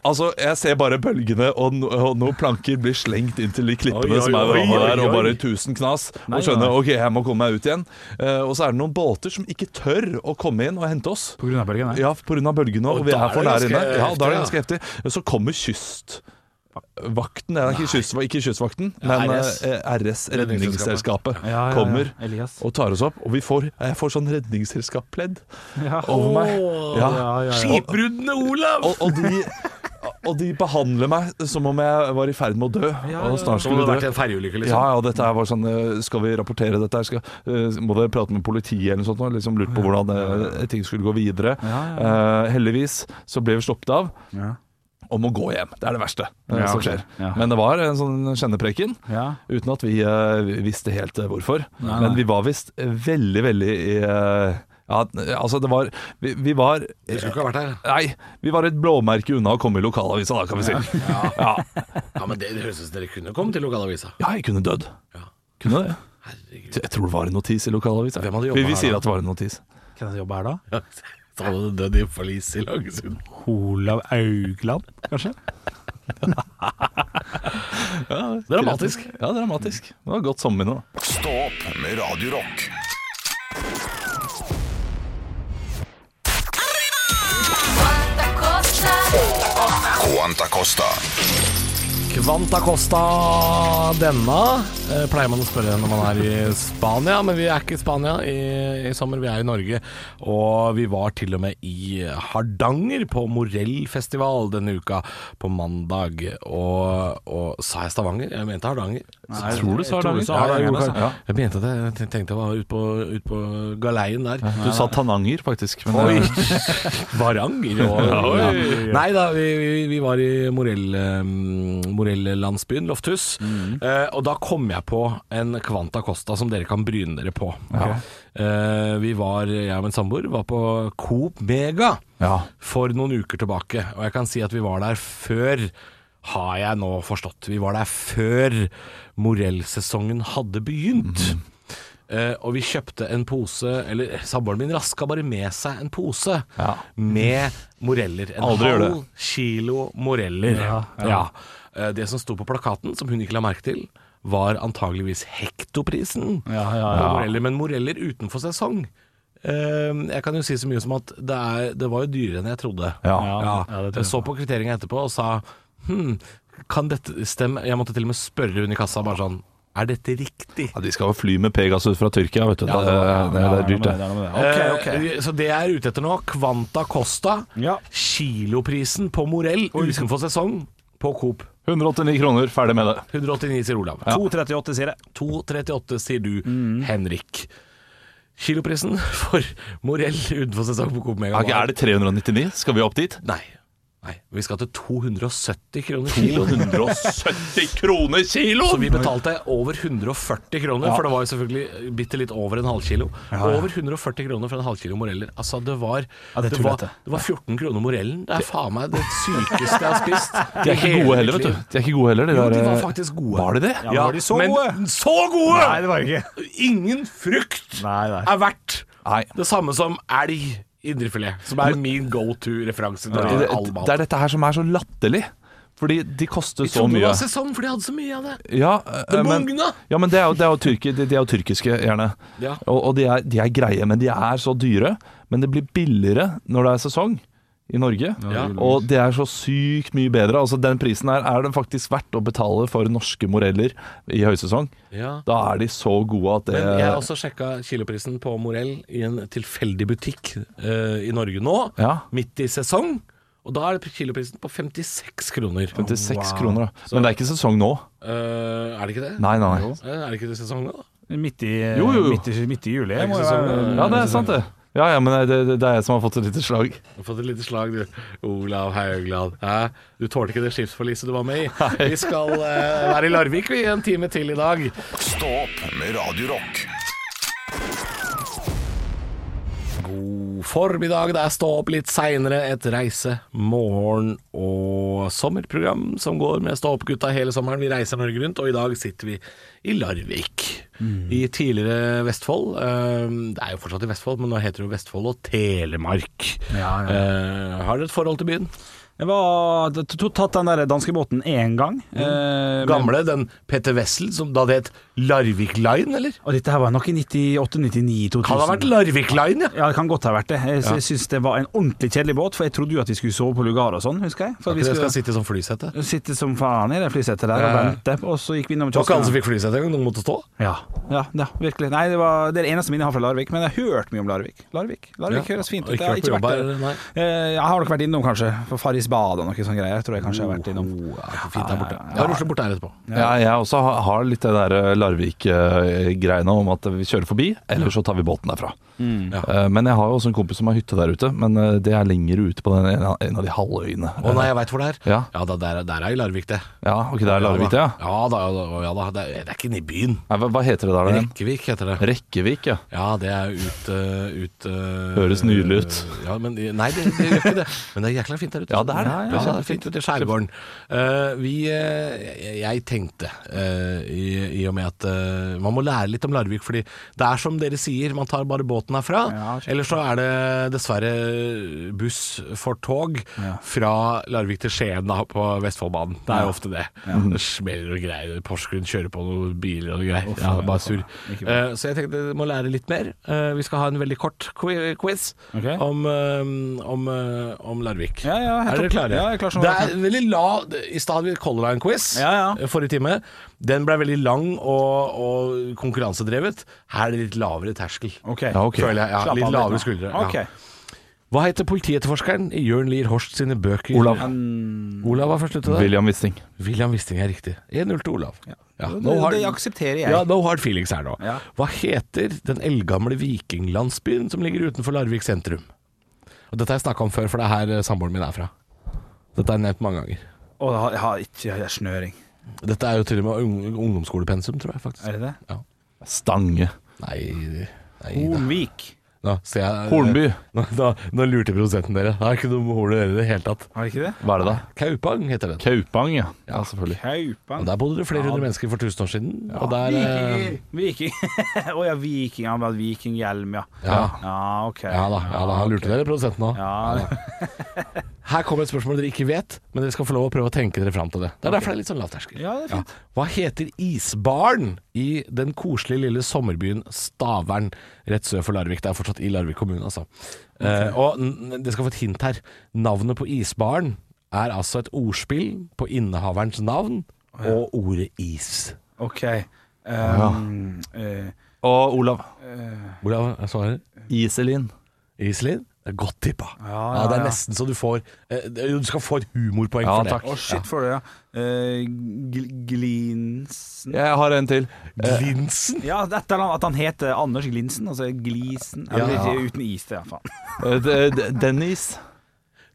[SPEAKER 5] Altså, jeg ser bare bølgene og, no, og noen planker blir slengt inn til de
[SPEAKER 3] Oi,
[SPEAKER 5] klippene
[SPEAKER 3] oi,
[SPEAKER 5] som er
[SPEAKER 3] oi,
[SPEAKER 5] ved vannet
[SPEAKER 3] oi,
[SPEAKER 5] der, og
[SPEAKER 3] oi.
[SPEAKER 5] bare tusen knas.
[SPEAKER 4] Nei,
[SPEAKER 5] og skjønner
[SPEAKER 4] nei.
[SPEAKER 5] ok, jeg må komme meg ut igjen. Eh, og så er det noen båter som ikke tør å komme inn og hente oss.
[SPEAKER 4] På grunn av bølgen,
[SPEAKER 5] Ja, pga. bølgene, og,
[SPEAKER 3] Og
[SPEAKER 5] vi
[SPEAKER 3] da
[SPEAKER 5] er
[SPEAKER 3] er
[SPEAKER 5] for
[SPEAKER 3] det
[SPEAKER 5] nære
[SPEAKER 3] ganske
[SPEAKER 5] inne. Ja, da er det ganske
[SPEAKER 3] heftig,
[SPEAKER 5] heftig. Så kommer kystvakten Det er ikke, kyst, ikke kystvakten,
[SPEAKER 3] Ja,
[SPEAKER 5] men
[SPEAKER 3] RS.
[SPEAKER 5] eh, RS, Redningsselskapet,
[SPEAKER 4] Ja, ja, ja.
[SPEAKER 5] kommer
[SPEAKER 4] Elias.
[SPEAKER 5] og tar oss opp. Og vi får, jeg får sånn redningsselskappledd
[SPEAKER 4] Ja.
[SPEAKER 5] over meg. Ja.
[SPEAKER 3] Skipbruddene, Olav!
[SPEAKER 5] Og, og, de, og de behandler meg som om jeg var i ferd med å dø. Og snart
[SPEAKER 3] Som om det
[SPEAKER 5] skulle
[SPEAKER 3] hadde vært
[SPEAKER 5] dø.
[SPEAKER 3] en ferjeulykke,
[SPEAKER 5] Ja,
[SPEAKER 3] liksom.
[SPEAKER 5] ja, dette her var sånn eh, Skal vi rapportere dette? her? Skal, eh, må dere prate med politiet eller noe sånt? Og liksom lurt på hvordan eh, ting skulle gå videre.
[SPEAKER 4] Ja,
[SPEAKER 5] Eh, heldigvis så ble vi sluppet av
[SPEAKER 4] Ja.
[SPEAKER 5] om å gå hjem. Det er det verste eh,
[SPEAKER 4] Ja,
[SPEAKER 5] som
[SPEAKER 4] ok.
[SPEAKER 5] skjer.
[SPEAKER 4] Ja.
[SPEAKER 5] Men det var en sånn kjennepreken.
[SPEAKER 4] Ja.
[SPEAKER 5] Uten at vi eh, visste helt eh, hvorfor.
[SPEAKER 4] Nei,
[SPEAKER 5] Men vi
[SPEAKER 4] nei.
[SPEAKER 5] var visst veldig, veldig i eh, ja, altså det var Vi, vi var
[SPEAKER 3] Jeg skulle ikke ha vært her.
[SPEAKER 5] Nei, vi var et blåmerke unna å komme i lokalavisa da, kan vi si. Ja,
[SPEAKER 3] Ja, men det, det høres ut som dere kunne kommet til lokalavisa.
[SPEAKER 5] ja jeg kunne dødd.
[SPEAKER 3] Ja.
[SPEAKER 5] Kunne det.
[SPEAKER 3] Herregud.
[SPEAKER 5] Jeg tror det var en notis i lokalavisa.
[SPEAKER 3] Hvem hadde
[SPEAKER 5] Vi,
[SPEAKER 3] jobbet
[SPEAKER 5] vi
[SPEAKER 3] her
[SPEAKER 5] sier
[SPEAKER 3] da?
[SPEAKER 5] at det var en notis.
[SPEAKER 4] Kan jeg jobbe her, da?
[SPEAKER 3] Ja, Så hadde du dødd i forlis i Langesund.
[SPEAKER 4] Olav Augland, kanskje?
[SPEAKER 5] Ja,
[SPEAKER 3] Dramatisk.
[SPEAKER 5] Ja, dramatisk. Det var et godt sommerminne. da.
[SPEAKER 2] Stå opp med Radio Rock. Quanta Costa.
[SPEAKER 3] Kvanta Costa denne eh, pleier man å spørre når man er i Spania, men vi er ikke i Spania i, i sommer, vi er i Norge. Og vi var til og med i Hardanger på Morellfestival denne uka på mandag. Og, og sa jeg Stavanger? Jeg mente Hardanger.
[SPEAKER 5] Jeg tror du sa
[SPEAKER 4] tror du
[SPEAKER 5] Hardanger.
[SPEAKER 4] sa
[SPEAKER 5] Ja,
[SPEAKER 4] Hardanger,
[SPEAKER 5] jeg gjorde
[SPEAKER 4] altså.
[SPEAKER 5] det. Ja.
[SPEAKER 3] Jeg mente at jeg ten- tenkte jeg var ute på, ut på galeien der.
[SPEAKER 5] Du sa Tananger, faktisk. Men
[SPEAKER 3] Oi.
[SPEAKER 5] eh,
[SPEAKER 3] Varanger og ja. Nei da, vi, vi, vi var i Morell, eh, Morell-landsbyen, Lofthus. Eh, og da kom jeg på en Kvanta Costa som dere kan bryne dere på. Eh, vi var, jeg og min samboer var på Coop Mega
[SPEAKER 5] ja.
[SPEAKER 3] for noen uker tilbake, og jeg kan si at vi var der før har jeg nå forstått. Vi var der før morellsesongen hadde begynt.
[SPEAKER 5] Mhm.
[SPEAKER 3] Eh, og vi kjøpte en pose Eller eh, samboeren min raska bare med seg en pose
[SPEAKER 5] Ja.
[SPEAKER 3] med moreller. En
[SPEAKER 5] Aldri gjør det.
[SPEAKER 3] halv kilo moreller. Ja, Eh, det som sto på plakaten, som hun ikke la merke til, var antageligvis hektoprisen
[SPEAKER 4] Ja, ja,
[SPEAKER 3] på moreller. Men moreller utenfor sesong eh, Jeg kan jo si så mye som at det, er, det var jo dyrere enn jeg trodde.
[SPEAKER 5] Ja.
[SPEAKER 4] Ja, det tror jeg
[SPEAKER 3] jeg så på kvitteringen etterpå og sa hm, kan dette stemme? Jeg måtte til og med spørre hun i kassa bare sånn Er dette riktig?
[SPEAKER 5] Ja, de skal jo fly med Pegasus fra Tyrkia, vet du. Det, det, det er dyrt, det.
[SPEAKER 4] Ok, ok.
[SPEAKER 3] Eh, Så det jeg er ute etter nå, Kvanta Costa,
[SPEAKER 4] Ja.
[SPEAKER 3] kiloprisen på Morell utenfor sesong på Coop.
[SPEAKER 5] 189 kroner, ferdig med det.
[SPEAKER 3] 189 sier Olav.
[SPEAKER 4] 238, sier jeg.
[SPEAKER 3] 2,38 sier du, Henrik. Kiloprisen for Morell utenfor sesong på Coop Mega
[SPEAKER 5] Ok, er det 399? Skal vi opp dit?
[SPEAKER 3] Nei. Nei. Vi skal til 270 kroner kiloen.
[SPEAKER 5] 270 kroner
[SPEAKER 3] Så
[SPEAKER 5] kiloen!
[SPEAKER 3] vi betalte over 140 kroner, for det var jo selvfølgelig bitte litt over en halvkilo. Over 140 kroner for en halvkilo moreller. Altså, det var,
[SPEAKER 4] Ja, det er
[SPEAKER 3] var,
[SPEAKER 4] tullete.
[SPEAKER 3] det var 14 kroner morellen. Det er faen meg det sykeste jeg har spist.
[SPEAKER 5] De er ikke gode heller, vet du. De er ikke gode heller, de
[SPEAKER 3] Jo, de
[SPEAKER 5] der
[SPEAKER 3] var
[SPEAKER 5] eh,
[SPEAKER 3] faktisk gode.
[SPEAKER 5] Var de det?
[SPEAKER 4] Ja, var de så
[SPEAKER 3] men
[SPEAKER 4] gode?
[SPEAKER 3] så gode!
[SPEAKER 4] Nei, det var det ikke.
[SPEAKER 3] Ingen frukt
[SPEAKER 4] Nei, nei.
[SPEAKER 3] er verdt
[SPEAKER 5] Nei.
[SPEAKER 3] det samme som elg indrefilet, som er min go to-referanse når det
[SPEAKER 5] Det,
[SPEAKER 3] gjelder all mat.
[SPEAKER 5] det er dette her som er så latterlig. Fordi de koster
[SPEAKER 3] Jeg
[SPEAKER 5] så
[SPEAKER 3] trodde det
[SPEAKER 5] mye.
[SPEAKER 3] var sesong, for de hadde så mye av det.
[SPEAKER 5] Ja,
[SPEAKER 3] Det
[SPEAKER 5] eh, men,
[SPEAKER 3] bugna!
[SPEAKER 5] ja, men det er jo, det er jo, tyrki, de, de er jo tyrkiske, gjerne.
[SPEAKER 3] Ja.
[SPEAKER 5] Og, og de, er, de er greie, men de er så dyre. Men det blir billigere når det er sesong i Norge.
[SPEAKER 3] Ja.
[SPEAKER 5] Og det er så sykt mye bedre. Altså, den prisen her er det faktisk verdt å betale for norske moreller i høysesong.
[SPEAKER 3] Ja.
[SPEAKER 5] Da Eh, er de så gode at det
[SPEAKER 3] Men jeg har også sjekka kiloprisen på Morell i en tilfeldig butikk eh, i Norge nå,
[SPEAKER 5] Ja.
[SPEAKER 3] midt i sesong. Og da er det kiloprisen på 56 kroner.
[SPEAKER 5] 56 kroner, da. Men det er ikke sesong nå.
[SPEAKER 3] Eh, er det ikke det?
[SPEAKER 5] Nei, nei. nei.
[SPEAKER 3] Eh, Er det ikke det sesong nå? da?
[SPEAKER 4] Midt i,
[SPEAKER 5] Jo, jo, jo.
[SPEAKER 4] Midt i, midt i juli.
[SPEAKER 3] Det er
[SPEAKER 4] må
[SPEAKER 3] ikke
[SPEAKER 4] jo
[SPEAKER 3] sånn,
[SPEAKER 4] være-
[SPEAKER 5] Ja, det er sant, det. Ja, ja, men det, det, det er jeg som har fått et lite slag.
[SPEAKER 3] Du har fått et lite slag, du. Olav Haugland. Hæ? Du tålte ikke det skipsforliset du var med i. Vi skal eh, være i Larvik vi, en time til i dag.
[SPEAKER 2] Stå opp med Radio Rock.
[SPEAKER 3] God formiddag, det er Stå opp litt seinere, et reise-, morgen- og sommerprogram som går med Stå opp-gutta hele sommeren. Vi reiser Norge rundt, og i dag sitter vi i Larvik.
[SPEAKER 4] Mm.
[SPEAKER 3] I tidligere Vestfold. eh, Det er jo fortsatt i Vestfold, men nå heter det jo Vestfold og Telemark.
[SPEAKER 4] Ja, ja.
[SPEAKER 3] Eh, Har dere et forhold til byen?
[SPEAKER 4] Jeg var to- to- tatt den der danskebåten én gang. eh, men-
[SPEAKER 3] Gamle, den Petter Wessel, som da det het Larvik Line, eller?
[SPEAKER 4] Og dette her var nok i 98-99-2000.
[SPEAKER 3] Kan det ha vært Larvik Line, ja.
[SPEAKER 4] Ja, det kan godt ha vært det. Jeg, jeg syns det var en ordentlig kjedelig båt, for jeg trodde jo at vi skulle sove på lugar og sånn, husker jeg. For vi
[SPEAKER 3] Ikke det
[SPEAKER 4] skulle
[SPEAKER 3] skal sitte som flysete. Det
[SPEAKER 4] sitte som faen i det flysetet der og
[SPEAKER 3] Ja.
[SPEAKER 4] vente, og så gikk vi innom
[SPEAKER 3] var ikke alle som
[SPEAKER 4] kiosken.
[SPEAKER 3] fikk flysete engang, noen måtte stå.
[SPEAKER 4] Ja, ja, ja, virkelig. Nei, det, var, det er det eneste minnet jeg har fra Larvik, men jeg har hørt mye om Larvik. Larvik, Larvik
[SPEAKER 3] Ja.
[SPEAKER 4] høres fint ut.
[SPEAKER 3] Og ikke
[SPEAKER 4] Jeg har
[SPEAKER 3] vært
[SPEAKER 4] ikke
[SPEAKER 3] på
[SPEAKER 4] vært
[SPEAKER 3] jobb
[SPEAKER 4] der.
[SPEAKER 3] her, nei.
[SPEAKER 4] Eh, Jeg har nok vært innom, kanskje. For Farris bad og noe sånne greier, tror jeg kanskje jeg har vært
[SPEAKER 3] Oh,
[SPEAKER 4] innom.
[SPEAKER 3] Fint der borte. Da er Oslo borte her etterpå.
[SPEAKER 5] Ja, jeg også har- har litt det der eh, Larvik-greiene om at vi kjører forbi, eller så tar vi båten derfra. Eh, Men jeg har jo også en kompis som har hytte der ute, men eh, det er lenger ute på den ene- en av de halvøyene.
[SPEAKER 3] Å nei, jeg veit hvor det er.
[SPEAKER 5] Ja.
[SPEAKER 3] da, der, der er jo Larvik, det.
[SPEAKER 5] Ja, ok, det er Larvik, det, ja.
[SPEAKER 3] ja. Ja da, ja da, ja da. Det, er, det er ikke inne i byen.
[SPEAKER 5] Nei, hva, hva heter det der igjen?
[SPEAKER 3] Rekkevik heter det.
[SPEAKER 5] Rekkevik, ja.
[SPEAKER 3] Ja, det er jo ut, eh, ut eh,
[SPEAKER 5] Høres nydelig ut.
[SPEAKER 3] Ja, men, nei, det, det gjør ikke det. Men det er jækla fint der ute.
[SPEAKER 5] Ja, det det er det.
[SPEAKER 3] Ja, det er fint ut i skjærgården. Eh, vi, eh, jeg tenkte, eh, i, i og med at eh, man må lære litt om Larvik, fordi det er som dere sier, man tar bare båten herfra.
[SPEAKER 4] Ja, skjønner.
[SPEAKER 3] eller så er det dessverre buss for tog fra Larvik til Skien da, på Vestfoldbanen. Det er jo ofte det.
[SPEAKER 4] Mhm.
[SPEAKER 3] Det smeller og greier. Porsgrunn kjører på noen biler og greier. Ja, det er bare sur.
[SPEAKER 4] Ikke bra.
[SPEAKER 3] Eh, så jeg tenkte jeg må lære litt mer. Eh, vi skal ha en veldig kort qui- quiz
[SPEAKER 4] Ok.
[SPEAKER 3] om, eh, om, eh, om Larvik.
[SPEAKER 4] Ja, ja, helt
[SPEAKER 3] er dere
[SPEAKER 4] topp.
[SPEAKER 3] klare?
[SPEAKER 4] Ja, jeg er klar som
[SPEAKER 3] det
[SPEAKER 4] bare
[SPEAKER 3] er veldig lav I stad hadde vi Color Line-quiz
[SPEAKER 4] Ja, ja.
[SPEAKER 3] eh, forrige time. Den ble veldig lang og, og konkurransedrevet. Her er det litt lavere terskel.
[SPEAKER 4] Ok.
[SPEAKER 3] Føler jeg, ja,
[SPEAKER 4] Slapp av
[SPEAKER 3] litt
[SPEAKER 4] nå.
[SPEAKER 3] lavere skuldre. ja.
[SPEAKER 4] Ok.
[SPEAKER 3] Hva heter politietterforskeren i Jørn Lier Horst sine bøker? Mm.
[SPEAKER 5] Olav.
[SPEAKER 3] Olav var først ute der.
[SPEAKER 5] William Wisting.
[SPEAKER 3] William Wisting er riktig. 1-0 til Olav. Ja, nå
[SPEAKER 4] Det,
[SPEAKER 3] har-
[SPEAKER 4] det aksepterer jeg.
[SPEAKER 3] ja, no hard feelings her nå.
[SPEAKER 4] Ja.
[SPEAKER 3] Hva heter den eldgamle vikinglandsbyen som ligger utenfor Larvik sentrum? Og dette har jeg snakka om før, for det er her eh, samboeren min er fra. Dette har jeg nevnt mange ganger.
[SPEAKER 4] Å, jeg har- jeg har ikke jeg har snøring.
[SPEAKER 3] Dette er jo til og med ung- ungdomsskolepensum, tror jeg faktisk.
[SPEAKER 4] Er det det?
[SPEAKER 5] Stange.
[SPEAKER 3] Nei, nei da.
[SPEAKER 4] Hornvik.
[SPEAKER 3] Nå, ser jeg,
[SPEAKER 5] Hornby.
[SPEAKER 3] Nå, nå, nå lurte produsenten dere. Det er ikke noe med horn å gjøre i det hele tatt.
[SPEAKER 4] Har det ikke det?
[SPEAKER 5] Hva er det da?
[SPEAKER 3] Kaupang heter den.
[SPEAKER 5] Kaupang, ja. Ja, selvfølgelig.
[SPEAKER 3] Og
[SPEAKER 4] Kaupan.
[SPEAKER 3] der bodde det flere hundre mennesker for tusen år siden. Og der eh,
[SPEAKER 4] Viking. Å ja, viking. Han hadde vikinghjelm, ja.
[SPEAKER 3] Ja.
[SPEAKER 4] Ja, ok.
[SPEAKER 3] Ja da, ja da, han lurte dere, produsenten òg.
[SPEAKER 4] Ja.
[SPEAKER 3] Her kommer et spørsmål dere ikke vet, men dere skal få lov å prøve å tenke dere fram til det. Det er derfor det er litt sånn lavterskel.
[SPEAKER 4] Ja, det er fint.
[SPEAKER 3] Hva heter isbaren i den koselige lille sommerbyen Stavern, rett sør for Larvik? Det er fortsatt i Larvik kommune, altså. Eh, og n- dere skal få et hint her. Navnet på isbaren er altså et ordspill på innehaverens navn og ordet is.
[SPEAKER 4] Ok. Um, eh,
[SPEAKER 5] Og Olav.
[SPEAKER 3] Olav jeg svarer?
[SPEAKER 5] Iselin.
[SPEAKER 3] Iselin? Det er godt tippa.
[SPEAKER 4] Ja, ja,
[SPEAKER 3] det er
[SPEAKER 4] ja.
[SPEAKER 3] nesten så du får eh, Du skal få et humorpoeng
[SPEAKER 5] Ja,
[SPEAKER 3] for det.
[SPEAKER 5] takk.
[SPEAKER 4] Å, shit for det, ja. Eh, Gl- Glinsen
[SPEAKER 5] Jeg har en til.
[SPEAKER 3] Eh, Glinsen?
[SPEAKER 4] Ja, et eller annet, at han heter Anders Glinsen, altså Glisen.
[SPEAKER 3] Ja.
[SPEAKER 4] Eller ikke uten is, det, ja, faen.
[SPEAKER 5] Eh, d- d- Dennis.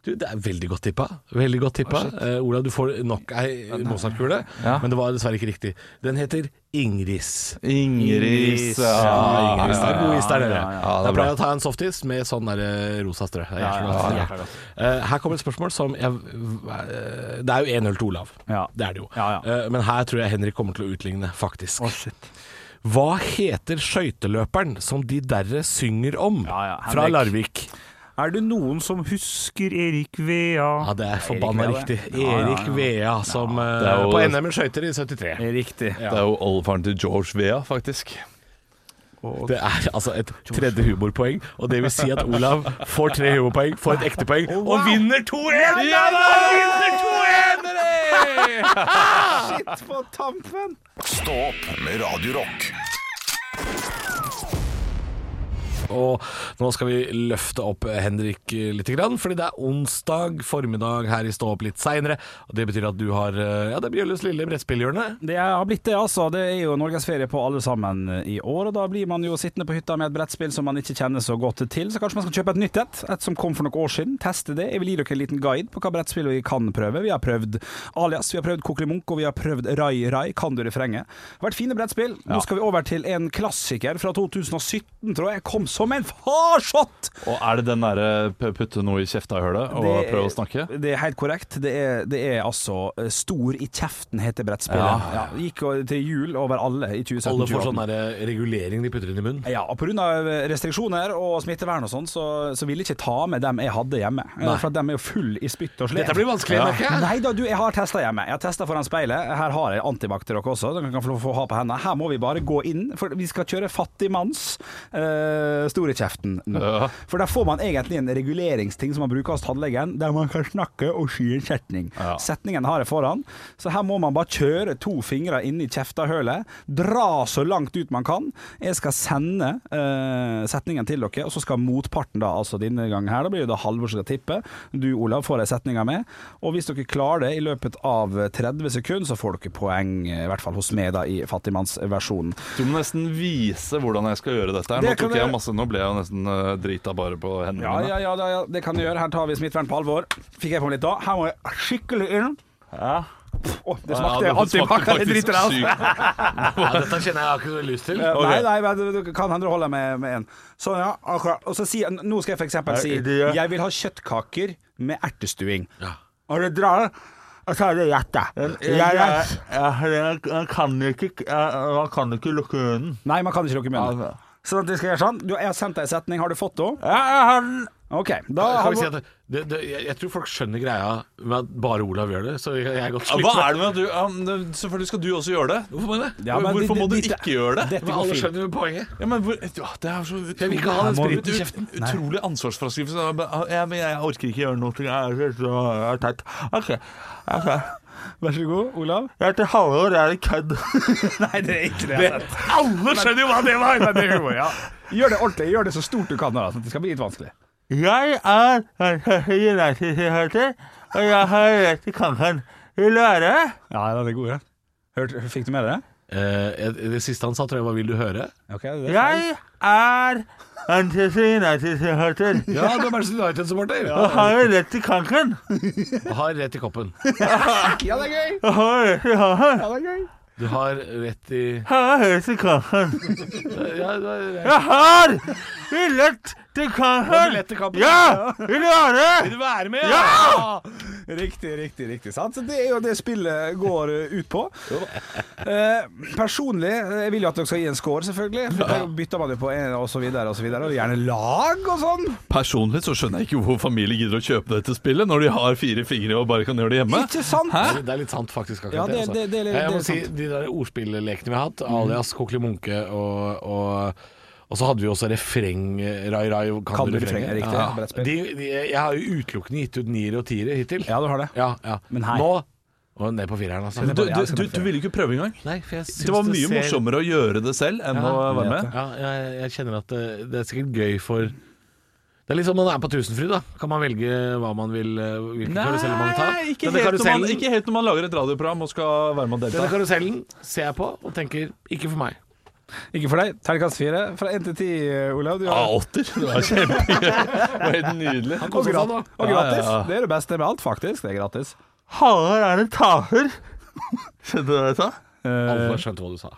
[SPEAKER 3] Du, det er veldig godt tippa. Veldig godt tippa. Eh, Olav, du får nok ei Mozart-kule,
[SPEAKER 5] Ja.
[SPEAKER 3] men det var dessverre ikke riktig. Den heter Ingris.
[SPEAKER 5] Ingris.
[SPEAKER 3] Ja,
[SPEAKER 5] Ja.
[SPEAKER 3] Ingris. Det er Ah, god is der nede.
[SPEAKER 4] ja, ja.
[SPEAKER 5] Ja, det
[SPEAKER 3] Da
[SPEAKER 5] er
[SPEAKER 3] pleier
[SPEAKER 5] bra.
[SPEAKER 3] jeg å ta en softis med sånn der eh, rosa strø. Det er
[SPEAKER 4] Ja,
[SPEAKER 3] jævlig
[SPEAKER 4] ja,
[SPEAKER 3] godt.
[SPEAKER 4] ja,
[SPEAKER 3] Ja. Eh, Her kommer et spørsmål som jeg, eh, Det er jo 1-0 til Olav.
[SPEAKER 4] Ja.
[SPEAKER 3] Det er det jo.
[SPEAKER 4] Ja, ja.
[SPEAKER 3] Eh, Men her tror jeg Henrik kommer til å utligne, faktisk.
[SPEAKER 4] shit.
[SPEAKER 3] Hva heter skøyteløperen som de derre synger om
[SPEAKER 4] Ja, ja,
[SPEAKER 3] fra
[SPEAKER 4] Henrik.
[SPEAKER 3] Larvik?
[SPEAKER 4] Er det noen som husker Ah, Erik Vea?
[SPEAKER 3] Ja, det er forbanna
[SPEAKER 4] Vea,
[SPEAKER 3] riktig.
[SPEAKER 4] det. Ja, ja,
[SPEAKER 3] Erik
[SPEAKER 4] ja.
[SPEAKER 3] Vea, som eh,
[SPEAKER 5] Det er jo-
[SPEAKER 3] på NM i skøyter i 73.
[SPEAKER 4] Det er Riktig.
[SPEAKER 3] Ja.
[SPEAKER 5] Det er jo oldefaren til George Vea, faktisk.
[SPEAKER 3] Det er altså et tredje humorpoeng, og det vil si at Olav får tre humorpoeng, får et ekte poeng, og vinner 2-1! Ja,
[SPEAKER 4] Shit på tampen!
[SPEAKER 2] Stå opp med Radio Rock.
[SPEAKER 3] Og nå skal vi løfte opp Henrik litt, fordi det er onsdag formiddag her i Stå opp litt seinere. Det betyr at du har eh, Ja, det er Bjølles lille brettspillhjørne.
[SPEAKER 4] Det har blitt det, altså. Det er jo norgesferie på alle sammen eh, i år. Og da blir man jo sittende på hytta med et brettspill som man ikke kjenner så godt til. Så kanskje man skal kjøpe et nytt et. Et som kom for noen år siden. Teste det. Jeg vil gi dere en liten guide på hva brettspill vi kan prøve. Vi har prøvd Alias, vi har prøvd Kokelimunk, og vi har prøvd Rai Rai. Kan du refrenget? Det har vært fine brettspill. Nå skal vi over til en klassiker fra 2017, tror jeg. Kom som en farsott!
[SPEAKER 5] Og er det den derre p- putte noe i kjefta-hølet og
[SPEAKER 4] Det-
[SPEAKER 5] prøve å snakke?
[SPEAKER 4] Det er helt korrekt. Det er, det er altså eh, Stor i kjeften heter brettspillet.
[SPEAKER 5] Ja.
[SPEAKER 4] Ja. Gikk jo til jul over alle i 2017.
[SPEAKER 3] Alle får
[SPEAKER 4] 2018.
[SPEAKER 3] sånn der regulering de putter inn i munnen.
[SPEAKER 4] Ja, og pga. restriksjoner og smittevern og sånn, så, så ville jeg ikke ta med dem jeg hadde hjemme. Eh,
[SPEAKER 3] Nei.
[SPEAKER 4] For at dem er jo full i spytt og slem.
[SPEAKER 3] Dette blir vanskelig, merker jeg.
[SPEAKER 4] Nei da, du, jeg har testa hjemme. Jeg har testa foran speilet. Her har jeg antibac til dere også. Dere kan få, få ha på hendene. Her må vi bare gå inn, for vi skal kjøre fattigmanns uh, store kjeften nå.
[SPEAKER 5] Ja.
[SPEAKER 4] For der får man egentlig en reguleringsting som man bruker hos tannlegen, der man kan snakke og sky en setning.
[SPEAKER 5] Ja.
[SPEAKER 4] Setningen har jeg foran, så her må man bare kjøre to fingre inn i kjeftahølet, dra så langt ut man kan. Jeg skal sende eh, setningen til dere, og så skal motparten da, altså denne gangen her, da blir det da Halvor som skal tippe. Du, Olav, får ei setninga med. Og hvis dere klarer det i løpet av 30 sekunder, så får dere poeng, eh, i hvert fall hos meg, da, i fattigmannsversjonen.
[SPEAKER 5] Du må nesten vise hvordan jeg skal gjøre dette. her Nå,
[SPEAKER 4] Det kan
[SPEAKER 5] tok jeg
[SPEAKER 4] jeg-
[SPEAKER 5] masse, nå ble jeg jo nesten eh, drita bare på hendene
[SPEAKER 4] Ja, ja, ja, ja, ja, det kan du gjøre. Her tar vi smittevern på alvor. Fikk jeg på meg litt da. Her må jeg skikkelig inn. Pff, Å, det
[SPEAKER 5] Ja, det
[SPEAKER 4] smakte
[SPEAKER 5] smakte
[SPEAKER 4] antibac. Jeg
[SPEAKER 5] faktisk
[SPEAKER 4] driter i det. altså.
[SPEAKER 5] sykt.
[SPEAKER 3] Ja, dette kjenner jeg ikke så lyst til.
[SPEAKER 4] Eh, Nei, nei, men du- du kan hende du holder med, med en. Sånn, ja. Akkurat. Og så sier jeg- Nå skal jeg for eksempel si
[SPEAKER 5] det gjør-
[SPEAKER 4] Jeg vil ha kjøttkaker med ertestuing. og du drar, og så er det rett, da.
[SPEAKER 5] kan ikke, man kan ikke lukke munnen.
[SPEAKER 4] Nei, man kan ikke lukke munnen. Sånn at du skal gjøre sånn. Du, jeg har sendt deg en setning, har du fått den? Ok, da
[SPEAKER 3] Kan
[SPEAKER 4] har
[SPEAKER 3] vi
[SPEAKER 4] vi
[SPEAKER 3] si at det, det, det, jeg, jeg tror folk skjønner greia med at bare Olav gjør det, så jeg, jeg er godt
[SPEAKER 5] Hva
[SPEAKER 3] slitt.
[SPEAKER 5] er det med at du ja, men Selvfølgelig skal du også gjøre det.
[SPEAKER 3] Hvorfor må jeg det?
[SPEAKER 4] Ja, men
[SPEAKER 5] Hvorfor
[SPEAKER 4] det-
[SPEAKER 5] må du
[SPEAKER 4] det-
[SPEAKER 5] ikke gjøre det?
[SPEAKER 4] Dette
[SPEAKER 3] Men
[SPEAKER 4] går
[SPEAKER 3] alle
[SPEAKER 4] fint.
[SPEAKER 3] skjønner jo poenget.
[SPEAKER 5] Ja, men hvor, ja, det er så utrolig,
[SPEAKER 3] Jeg vil ikke ha den
[SPEAKER 5] Her må-
[SPEAKER 3] spriten i kjeften.
[SPEAKER 5] ut- Utrolig ansvarsfraskrivelse. Ja, men, ja, men jeg orker ikke gjøre noe. Jeg er så jeg er teit. Ok. ok.
[SPEAKER 4] Vær så god, Olav.
[SPEAKER 5] Jeg heter Halvor, jeg er en kødd.
[SPEAKER 4] Nei, det er ikke det. jeg har
[SPEAKER 5] altså.
[SPEAKER 4] sett.
[SPEAKER 3] Alle skjønner jo hva det var!
[SPEAKER 4] Nei, det er humor, ja. Gjør det ordentlig. Gjør det så stort du kan, da, sånn at det skal bli litt vanskelig.
[SPEAKER 5] Jeg er United-tilhører, og jeg har rett til kampen. Vil du være med?
[SPEAKER 4] Ja, det er god, ja. Hørt, fikk du med deg det?
[SPEAKER 3] Eh, det siste han sa, tror jeg var 'vil du høre'?
[SPEAKER 4] Ok, det er feil.
[SPEAKER 5] Jeg er Manchester United-tilhører,
[SPEAKER 3] Ja, du er Manchester United-supporter!
[SPEAKER 5] og har rett til kampen.
[SPEAKER 3] Du har rett i koppen.
[SPEAKER 4] Ja, det er gøy!
[SPEAKER 5] Og har rett til kampen.
[SPEAKER 4] Ja, det er gøy.
[SPEAKER 3] Du har rett i
[SPEAKER 5] Jeg har rett til kampen.
[SPEAKER 3] Ja, du har rett.
[SPEAKER 5] Jeg har rett til
[SPEAKER 3] Har du
[SPEAKER 5] kampen.
[SPEAKER 3] rett i kampen?
[SPEAKER 5] Ja! Vil du være med?
[SPEAKER 3] være med?
[SPEAKER 5] Ja!
[SPEAKER 4] Riktig, riktig, riktig. Sant? Så det er jo det spillet går eh, ut på. Eh, personlig eh, jeg vil jo at dere skal gi en score, selvfølgelig. For Da bytter man jo på en, og så videre, og så videre. Og gjerne lag og sånn.
[SPEAKER 5] Personlig så skjønner jeg ikke hvor familie gidder å kjøpe dette spillet når de har fire fingre og bare kan gjøre det hjemme.
[SPEAKER 4] Ikke sant?
[SPEAKER 3] Det det er litt sant, faktisk. akkurat
[SPEAKER 4] Ja, det-
[SPEAKER 3] altså.
[SPEAKER 4] det- det- det-
[SPEAKER 3] jeg må
[SPEAKER 4] det er
[SPEAKER 3] si,
[SPEAKER 4] sant. Mm.
[SPEAKER 3] De der ordspilllekene vi har hatt, alias Kokeli Munke og, og, og så hadde vi også refreng Rai Rai
[SPEAKER 4] Kan du refrenget, riktig, brettspill.
[SPEAKER 3] De, de, jeg har jo utelukkende gitt ut niere og tiere hittil.
[SPEAKER 4] Ja, du har det.
[SPEAKER 3] Ja, ja.
[SPEAKER 4] Men her-
[SPEAKER 3] Nå og ned på fireren, altså.
[SPEAKER 5] Du, du, du, du ville ikke prøve engang?
[SPEAKER 3] Nei, for jeg syns
[SPEAKER 5] Det var mye
[SPEAKER 3] ser-
[SPEAKER 5] morsommere å gjøre det selv enn å
[SPEAKER 3] Ja,
[SPEAKER 5] være med.
[SPEAKER 3] Ja, jeg, jeg kjenner at det, det er sikkert gøy for det er litt som når man er på Tusenfryd, da. Kan man velge hva man vil eh, Hvilken karusell man vil ta? Denne
[SPEAKER 5] ikke helt, når man,
[SPEAKER 3] karusellen-
[SPEAKER 5] ikke helt når man lager et radioprogram og skal være med og
[SPEAKER 3] Denne
[SPEAKER 5] delta.
[SPEAKER 3] karusellen ser jeg på og tenker ikke for meg.
[SPEAKER 4] Ikke for deg. Terningkast fire. Fra én til ti, eh, Olav. Du
[SPEAKER 5] Ja,
[SPEAKER 4] har
[SPEAKER 5] Ah, åtter. Det var kjempegøy. Det var helt nydelig.
[SPEAKER 4] og gratis.
[SPEAKER 5] Ja,
[SPEAKER 4] og
[SPEAKER 5] ja,
[SPEAKER 4] gratis.
[SPEAKER 5] sånn, ja.
[SPEAKER 4] Det er det beste med alt, faktisk. Det er gratis.
[SPEAKER 5] Halvor er en taper. Skjønte du det jeg sa?
[SPEAKER 3] Alle skjønte hva du sa.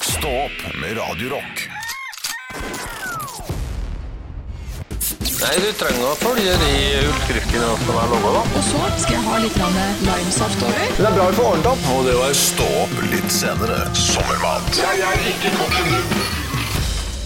[SPEAKER 2] Stå opp med Radio Rock.
[SPEAKER 6] Nei, du trenger å følge de oppskriftene som er laga, da.
[SPEAKER 7] Og så skal jeg ha litt grann limesaft over.
[SPEAKER 6] Det er bra vi får ordnet opp.
[SPEAKER 2] Og det var Stå opp litt senere. Sommermat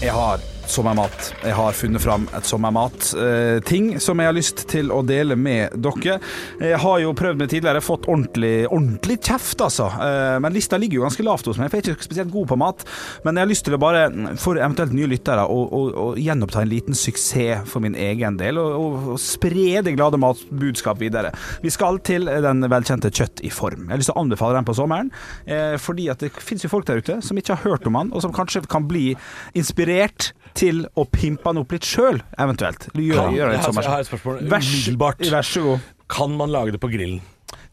[SPEAKER 4] Jeg har sommermat. Jeg har funnet fram et sommermat. eh, ting som jeg har lyst til å dele med dere. Jeg har jo prøvd meg tidligere, fått ordentlig, ordentlig kjeft, altså. Eh, men lista ligger jo ganske lavt hos meg, for jeg er ikke spesielt god på mat. Men jeg har lyst til å bare, for eventuelt nye lyttere, å, å, å gjenoppta en liten suksess for min egen del. Og, og, og spre det glade matbudskap videre. Vi skal til den velkjente Kjøtt i form. Jeg har lyst til å anbefale den på sommeren, eh, fordi at det finnes jo folk der ute som ikke har hørt om den, og som kanskje kan bli inspirert til å pimpe den opp litt sjøl, eventuelt. Eller Gjøre,
[SPEAKER 3] jeg,
[SPEAKER 4] gjøre det
[SPEAKER 3] har,
[SPEAKER 4] litt
[SPEAKER 3] jeg har
[SPEAKER 4] sommer.
[SPEAKER 3] et spørsmål.
[SPEAKER 4] Vær så-
[SPEAKER 3] Umiddelbart.
[SPEAKER 4] Vær så god.
[SPEAKER 3] Kan man lage det på grillen?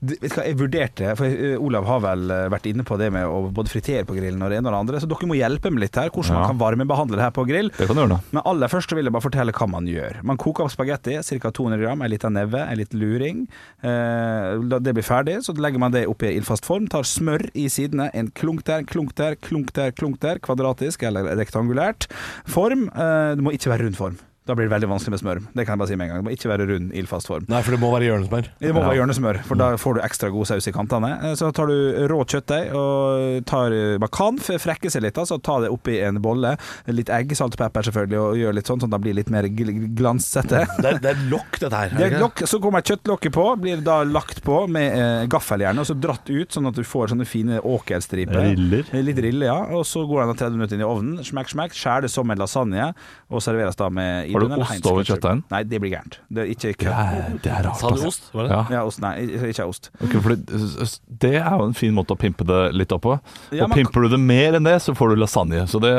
[SPEAKER 4] Du, Vet du hva, jeg vurderte For eh, Olav har vel eh, vært inne på det med å både fritere på grillen og det ene og det andre, så dere må hjelpe meg litt her, hvordan man kan varmebehandle det her på grill.
[SPEAKER 5] Det kan du gjøre, da.
[SPEAKER 4] Men aller først så vil jeg bare fortelle hva man gjør. Man koker opp spagetti, ca. 200 gram, en liten neve, en liten luring. Eh, la det blir ferdig, så legger man det oppi ildfast form. Tar smør i sidene, en klunk der, klunk der, klunk der, klunk der. Kvadratisk eller rektangulært. Form. Eh, det må ikke være rund form. Da blir det veldig vanskelig med smør. Det kan jeg bare si med en gang. Det må ikke være rund ildfast form.
[SPEAKER 3] Nei, for det må være hjørnesmør.
[SPEAKER 4] Det må være hjørnesmør, for da får du ekstra god saus i kantene. Eh, Så tar du rå kjøttdeig og tar Man kan f- frekke seg litt, altså. Ta det oppi en bolle. Litt egg, salt og pepper selvfølgelig, og gjør litt sånn, sånn at det blir litt mer gl- glansete.
[SPEAKER 3] Det er, det er et lokk, dette her. er
[SPEAKER 4] Det er
[SPEAKER 3] ikke
[SPEAKER 4] et lokk, så kommer kjøttlokket på, blir da lagt på med eh, gaffel gjerne, og så dratt ut sånn at du får sånne fine åkerstriper.
[SPEAKER 5] Riller.
[SPEAKER 4] Eh, Litt rille, ja. Og så går den da 30 minutter inn i ovnen, smekk, smekk, skjær det som en lasagne, og serveres da med
[SPEAKER 5] Har du
[SPEAKER 4] Idun eller
[SPEAKER 5] ost
[SPEAKER 4] Heinz
[SPEAKER 5] over
[SPEAKER 4] ketchup.
[SPEAKER 5] kjøttdeigen?
[SPEAKER 4] Nei, det blir gærent. Det er ikke
[SPEAKER 5] Det
[SPEAKER 4] kø.
[SPEAKER 5] er, det er rart.
[SPEAKER 3] Sa du
[SPEAKER 5] altså.
[SPEAKER 3] ost? Var det?
[SPEAKER 5] Ja.
[SPEAKER 4] Ja, ost, nei, ikke ost.
[SPEAKER 5] Ok, for det, s- s- det er jo en fin måte å pimpe det litt opp på.
[SPEAKER 4] Ja,
[SPEAKER 5] og
[SPEAKER 4] man-
[SPEAKER 5] pimper du det mer enn det, så får du lasagne. Så det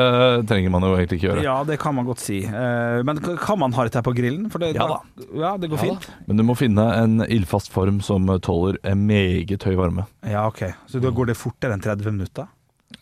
[SPEAKER 5] trenger man jo egentlig ikke gjøre.
[SPEAKER 4] Ja, det kan man godt si. Eh, Men k- kan man ha dette her på grillen? For det,
[SPEAKER 5] Ja da.
[SPEAKER 4] Ja, det går fint.
[SPEAKER 5] Men du må finne en ildfast form som tåler en meget høy varme.
[SPEAKER 4] Ja, ok. Så da går det fortere enn 30 minutter?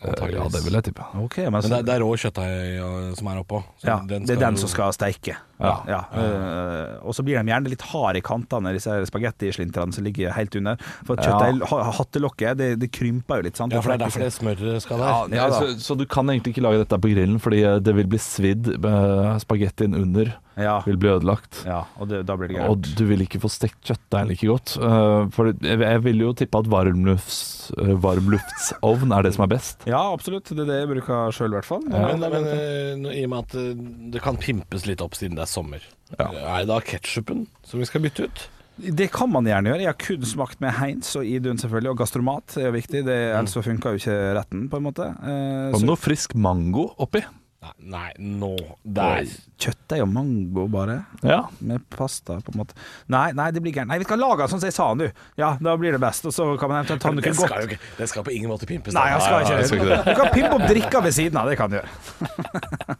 [SPEAKER 5] Eh, Ja, det vil jeg tippe.
[SPEAKER 4] Ok, men,
[SPEAKER 3] Men det, er- det er rå kjøttdeig ja, som er oppå. så
[SPEAKER 4] ja,
[SPEAKER 3] den
[SPEAKER 4] det er den
[SPEAKER 3] jo-
[SPEAKER 4] som skal steike.
[SPEAKER 5] Ja.
[SPEAKER 4] eh, og så blir de gjerne litt harde i kantene, disse her spagettislintrene som ligger helt under. For
[SPEAKER 5] Ja.
[SPEAKER 4] kjøttdeig, ha- hattelokket, det, det krymper jo litt, sant?
[SPEAKER 3] Ja, for det er derfor det smøret skal der.
[SPEAKER 5] Ja,
[SPEAKER 4] Ja da.
[SPEAKER 5] så, så du kan egentlig ikke lage dette på grillen, fordi eh, det vil bli svidd eh, spagettien under.
[SPEAKER 4] Ja.
[SPEAKER 5] vil bli ødelagt.
[SPEAKER 4] ja og det, da blir det
[SPEAKER 5] Og
[SPEAKER 4] gærent.
[SPEAKER 5] du vil ikke få stekt kjøttdeigen like godt. Eh, For jeg, jeg vil jo tippe at varmlufts, eh, varmluftsovn er det som er best.
[SPEAKER 4] Ja, absolutt. Det er det jeg bruker sjøl, i hvert fall.
[SPEAKER 3] Men, men eh, nå- i og med at eh, det kan pimpes litt opp siden det er sommer, er det da ketsjupen som vi skal bytte ut?
[SPEAKER 4] Det kan man gjerne gjøre. Jeg har kun smakt med Heinz og Idun, selvfølgelig. Og gastromat er jo viktig, det, ellers så funker jo ikke retten, på en måte. Eh,
[SPEAKER 5] Og
[SPEAKER 4] så
[SPEAKER 5] noe frisk mango oppi.
[SPEAKER 3] Nei, nei nå Der.
[SPEAKER 4] kjøttdeig og mango, bare.
[SPEAKER 5] Ja.
[SPEAKER 4] Med pasta, på en måte. Nei, nei, det blir gærent. Nei, vi skal lage den sånn som jeg sa den, du. Ja, da blir det best. Og så kan man eventuelt ta den
[SPEAKER 3] Det
[SPEAKER 4] noe
[SPEAKER 3] skal, jo
[SPEAKER 4] godt.
[SPEAKER 3] ikke, det skal på ingen måte pimpes.
[SPEAKER 4] Nei, jeg skal
[SPEAKER 5] Nei, nei, jeg skal
[SPEAKER 4] ikke
[SPEAKER 5] ikke
[SPEAKER 4] det.
[SPEAKER 5] det.
[SPEAKER 4] Du kan pimpe opp drikka ved siden av, det kan du gjøre.